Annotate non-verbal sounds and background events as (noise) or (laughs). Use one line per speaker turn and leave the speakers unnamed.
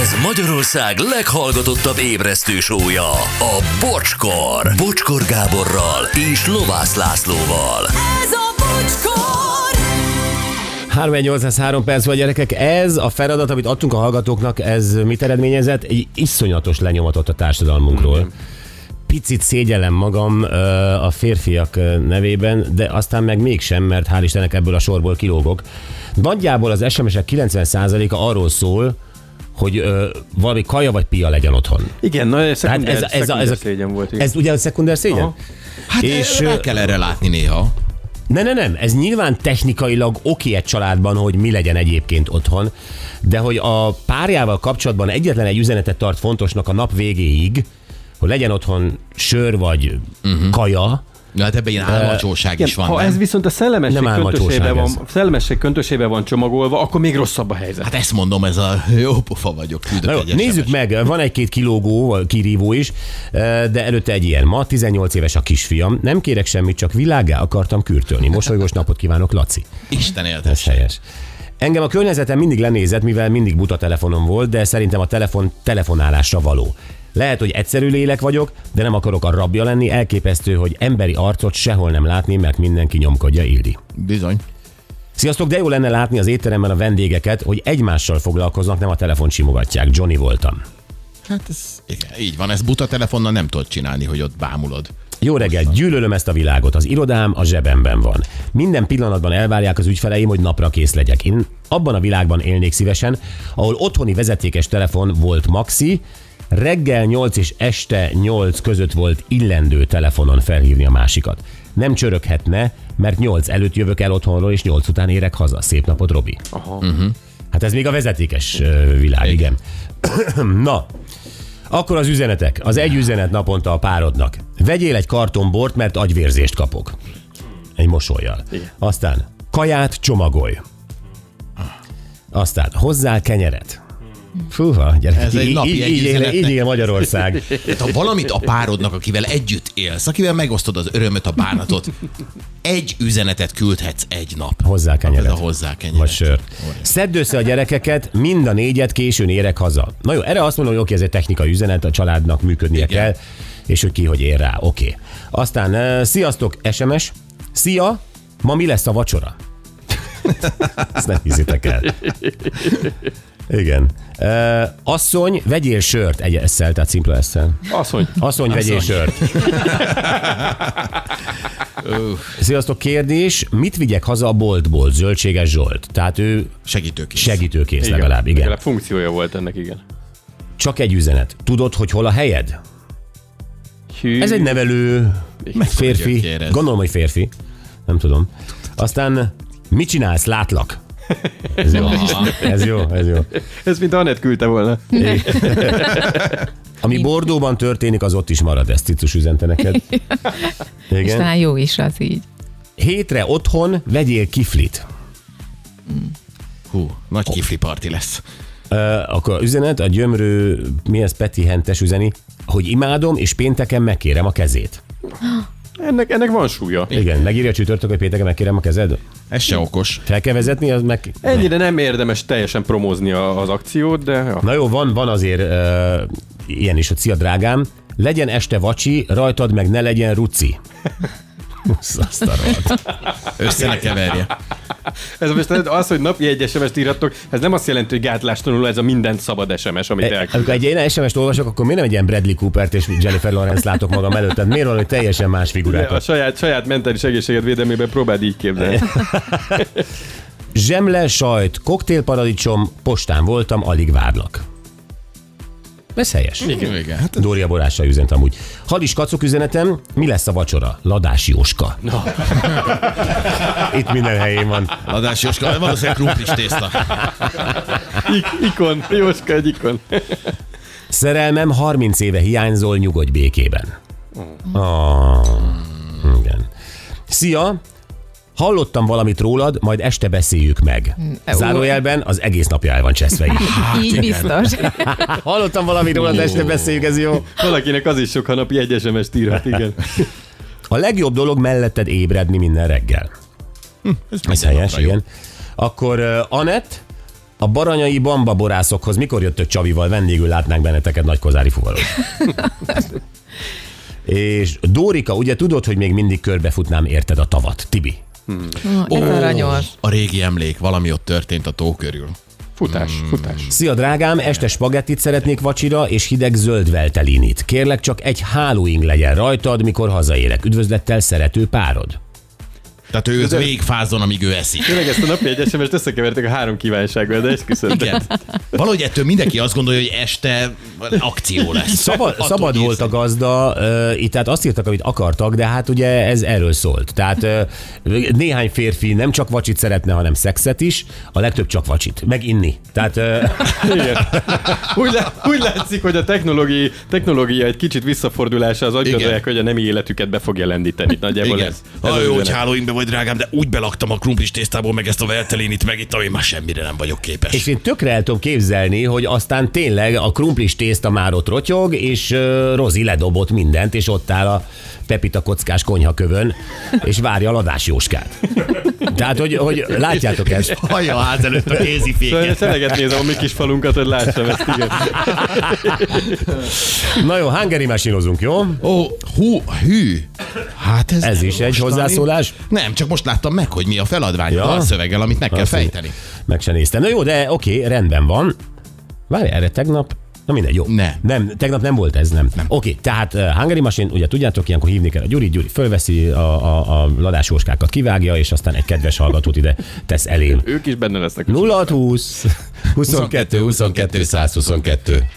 Ez Magyarország leghallgatottabb ébresztő sója, a Bocskor. Bocskor Gáborral és Lovász Lászlóval.
Ez a bocskor!
3803 perc vagy gyerekek, ez a feladat, amit adtunk a hallgatóknak, ez mit eredményezett? Egy iszonyatos lenyomatot a társadalmunkról. Picit szégyellem magam ö, a férfiak ö, nevében, de aztán meg mégsem, mert hál' Istennek ebből a sorból kilógok. Nagyjából az SMS-ek 90%-a arról szól, hogy ö, valami kaja vagy pia legyen otthon.
Igen, na ez,
Tehát
szekunder, ez, ez, ez, ez szégyen volt. igen.
Ez ugye a szekunder szégyen?
Aha.
Hát
És,
és rá
ö,
kell erre látni néha.
Ne, ne, nem, ez nyilván technikailag oké egy családban, hogy mi legyen egyébként otthon, de hogy a párjával kapcsolatban egyetlen egy üzenetet tart fontosnak a nap végéig, hogy legyen otthon sör vagy uh-huh. kaja,
Na, hát ebben ilyen álmacsóság
Igen,
is van,
ha
nem?
ez viszont a szellemesség
Nem
köntösébe
álmatosság
van,
ez.
a szellemesség köntösébe van csomagolva, akkor még rosszabb a helyzet.
Hát ezt mondom, ez a (laughs) jó pofa vagyok. küldök
Na jó,
egy SMS-t.
nézzük meg, van egy-két kilógó, vagy kirívó is, eh, de előtte egy ilyen. Ma 18 éves a kisfiam, nem kérek semmit, csak világá akartam kürtölni. Mosolygós napot kívánok, Laci.
Isten
Ez
éltes.
helyes. Engem a környezetem mindig lenézett, mivel mindig buta telefonom volt, de szerintem a telefon telefonálásra való. Lehet, hogy egyszerű lélek vagyok, de nem akarok a rabja lenni, elképesztő, hogy emberi arcot sehol nem látni, mert mindenki nyomkodja Ildi.
Bizony.
Sziasztok, de jó lenne látni az étteremben a vendégeket, hogy egymással foglalkoznak, nem a telefon simogatják. Johnny voltam.
Hát ez, igen, így van, ez buta telefonnal nem tudod csinálni, hogy ott bámulod.
Jó reggel, gyűlölöm ezt a világot. Az irodám a zsebemben van. Minden pillanatban elvárják az ügyfeleim, hogy napra kész legyek. Én abban a világban élnék szívesen, ahol otthoni vezetékes telefon volt maxi, reggel 8 és este 8 között volt illendő telefonon felhívni a másikat. Nem csöröghetne, mert 8 előtt jövök el otthonról, és 8 után érek haza. Szép napot, Robi.
Aha.
Hát ez még a vezetékes ö, világ, igen. (clears throat) Na, akkor az üzenetek. Az egy üzenet naponta a párodnak. Vegyél egy karton bort, mert agyvérzést kapok. Egy mosolyjal. Aztán kaját csomagolj. Aztán hozzá kenyeret. Fúha, gyerekek,
Ez egy
így,
napi
így,
egy
így, él,
üzenetnek.
így él Magyarország.
Tehát Hát ha valamit a párodnak, akivel együtt élsz, akivel megosztod az örömöt, a bánatot, egy üzenetet küldhetsz egy nap.
Hozzá
Hát Ez a
kenyeret.
hozzá kenyeret.
Vagy sört. Szedd össze a gyerekeket, mind a négyet későn érek haza. Na jó, erre azt mondom, hogy oké, ez egy technikai üzenet, a családnak működnie
Igen.
kell, és hogy ki hogy ér rá, oké. Aztán, eh, sziasztok, SMS, szia, ma mi lesz a vacsora? (laughs) Ezt ne hízitek el. Igen. Eh, asszony, vegyél sört. Egy esszel, tehát szimpla esszel.
Asszony,
Asszony, vegyél sört. Sziasztok, kérdés. Mit vigyek haza a boltból? Zöldséges Zsolt. Tehát ő
Segítők is.
segítőkész legalább, igen.
legalább funkciója volt ennek, igen.
Csak egy üzenet. Tudod, hogy hol a helyed?
Hű,
Ez egy nevelő férfi.
gyökér ez?
Gondolom, hogy férfi. Nem tudom. Aztán mit csinálsz? Látlak. Ez jó. Ez jó, ez jó.
ez mint Anett küldte volna.
Ami Bordóban történik, az ott is marad. Ezt Cicus üzente neked.
És
Igen.
talán jó is az így.
Hétre otthon vegyél kiflit.
Hú, nagy kifli parti lesz.
Ö, akkor üzenet, a gyömrő, mi ez Peti Hentes üzeni, hogy imádom, és pénteken megkérem a kezét.
Ennek, ennek van súlya.
Igen, megírja a csütörtök, hogy pénteken megkérem a kezed.
Ez se okos.
Fel kell vezetni, az meg...
Ennyire nem érdemes teljesen promózni a, az akciót, de ja.
Na jó, van, van azért uh, ilyen is, hogy szia drágám, legyen este vacsi, rajtad meg ne legyen ruci. Húsz, azt a rohadt.
Össze ne keverje.
ez most az, hogy napi egy SMS-t írattok, ez nem azt jelenti, hogy gátlástalanul ez a mindent szabad SMS, amit
E,
elküld.
amikor egy ilyen SMS-t olvasok, akkor miért nem egy ilyen Bradley Coopert és Jennifer Lawrence látok magam előtt? Tehát miért valami teljesen más
De A
figurákat?
saját, saját mentális egészséged védelmében próbáld
(laughs)
így képzelni.
Zsemle, sajt, koktélparadicsom, postán voltam, alig várlak. Ez helyes.
Igen, hát
Dória Borással üzent amúgy. Halis kacok üzenetem, mi lesz a vacsora? Ladás Jóska. No. (laughs) Itt minden helyén van.
Ladás Jóska, valószínűleg krumplis tészta.
Ik- ikon, Jóska egy ikon.
Szerelmem 30 éve hiányzol, nyugodj békében. Ah, igen. Szia! Hallottam valamit rólad, majd este beszéljük meg. Zárójelben az egész napja el van cseszve így.
így biztos.
Hallottam valamit rólad, este beszéljük, ez jó.
Valakinek az is sok, ha napi egy SMS-t írat, igen.
A legjobb dolog melletted ébredni minden reggel.
Ez
Ez
minden
helyes,
napra jó.
igen. Akkor uh, Anett, A baranyai bambaborászokhoz mikor jöttök Csabival? Vendégül látnánk benneteket Nagykozári fuvarok. És Dórika, ugye tudod, hogy még mindig körbefutnám érted a tavat. Tibi.
Ó, Ez aranyos.
A régi emlék, valami ott történt a tó körül.
Futás, futás.
Szia drágám, este spagettit szeretnék vacsira és hideg zöld veltelinit. Kérlek csak egy hálóing legyen rajtad, mikor hazaérek. Üdvözlettel szerető párod.
Tehát ő végfázon, amíg ő eszik.
Tényleg ezt a napi egy SMS-t összekeverték a három kívánsággal, de esküszöm.
Igen. Valahogy ettől mindenki azt gondolja, hogy este akció lesz.
Szabad,
Attól
szabad
kész.
volt a gazda, ö, itt tehát azt írtak, amit akartak, de hát ugye ez erről szólt. Tehát ö, néhány férfi nem csak vacsit szeretne, hanem szexet is, a legtöbb csak vacsit, meg inni. Tehát ö,
Igen. Úgy, lá- úgy látszik, hogy a technológia, technológia egy kicsit visszafordulása az agygondolják, hogy a nemi életüket be fogja lendíteni. Nagyjából
Igen.
ez. ez
Ha
az
jó, hogy
üzenet.
hálóimbe vagy, drágám, de úgy belaktam a krumplis tésztából, meg ezt a veltelinit megittam, én már semmire nem vagyok képes.
és én tökre el tudom képzelni, hogy aztán tényleg a krumplis tészta már ott rotyog, és ö, Rozi ledobott mindent, és ott áll a Pepita kockás konyhakövön, és várja a ladás Jóskát. Tehát, hogy, hogy látjátok ezt?
Hallja a ház előtt a kéziféket.
Szeleget Szóval nézem a mi kis falunkat, hogy lássam ezt, igen.
Na jó, hangeri mesinozunk, jó?
Ó, hú, hű. Hát ez,
Ez
nem
is egy
mostani.
hozzászólás?
Nem, csak most láttam meg, hogy mi a feladvány
Ja?
ja? a szöveggel, amit meg kell fejteni.
Meg se néztem. Na jó, de oké, rendben van. Várj, erre tegnap... Na mindegy, jó.
Ne.
Nem, tegnap nem volt ez, nem. nem. Oké, tehát uh, Hungary Machine, ugye tudjátok, ilyenkor hívni kell a Gyuri, Gyuri fölveszi a, a, a ladásóskákat, kivágja, és aztán egy kedves hallgatót ide tesz (laughs) elém. (laughs)
Ők is benne lesznek.
0 20 22 22 122.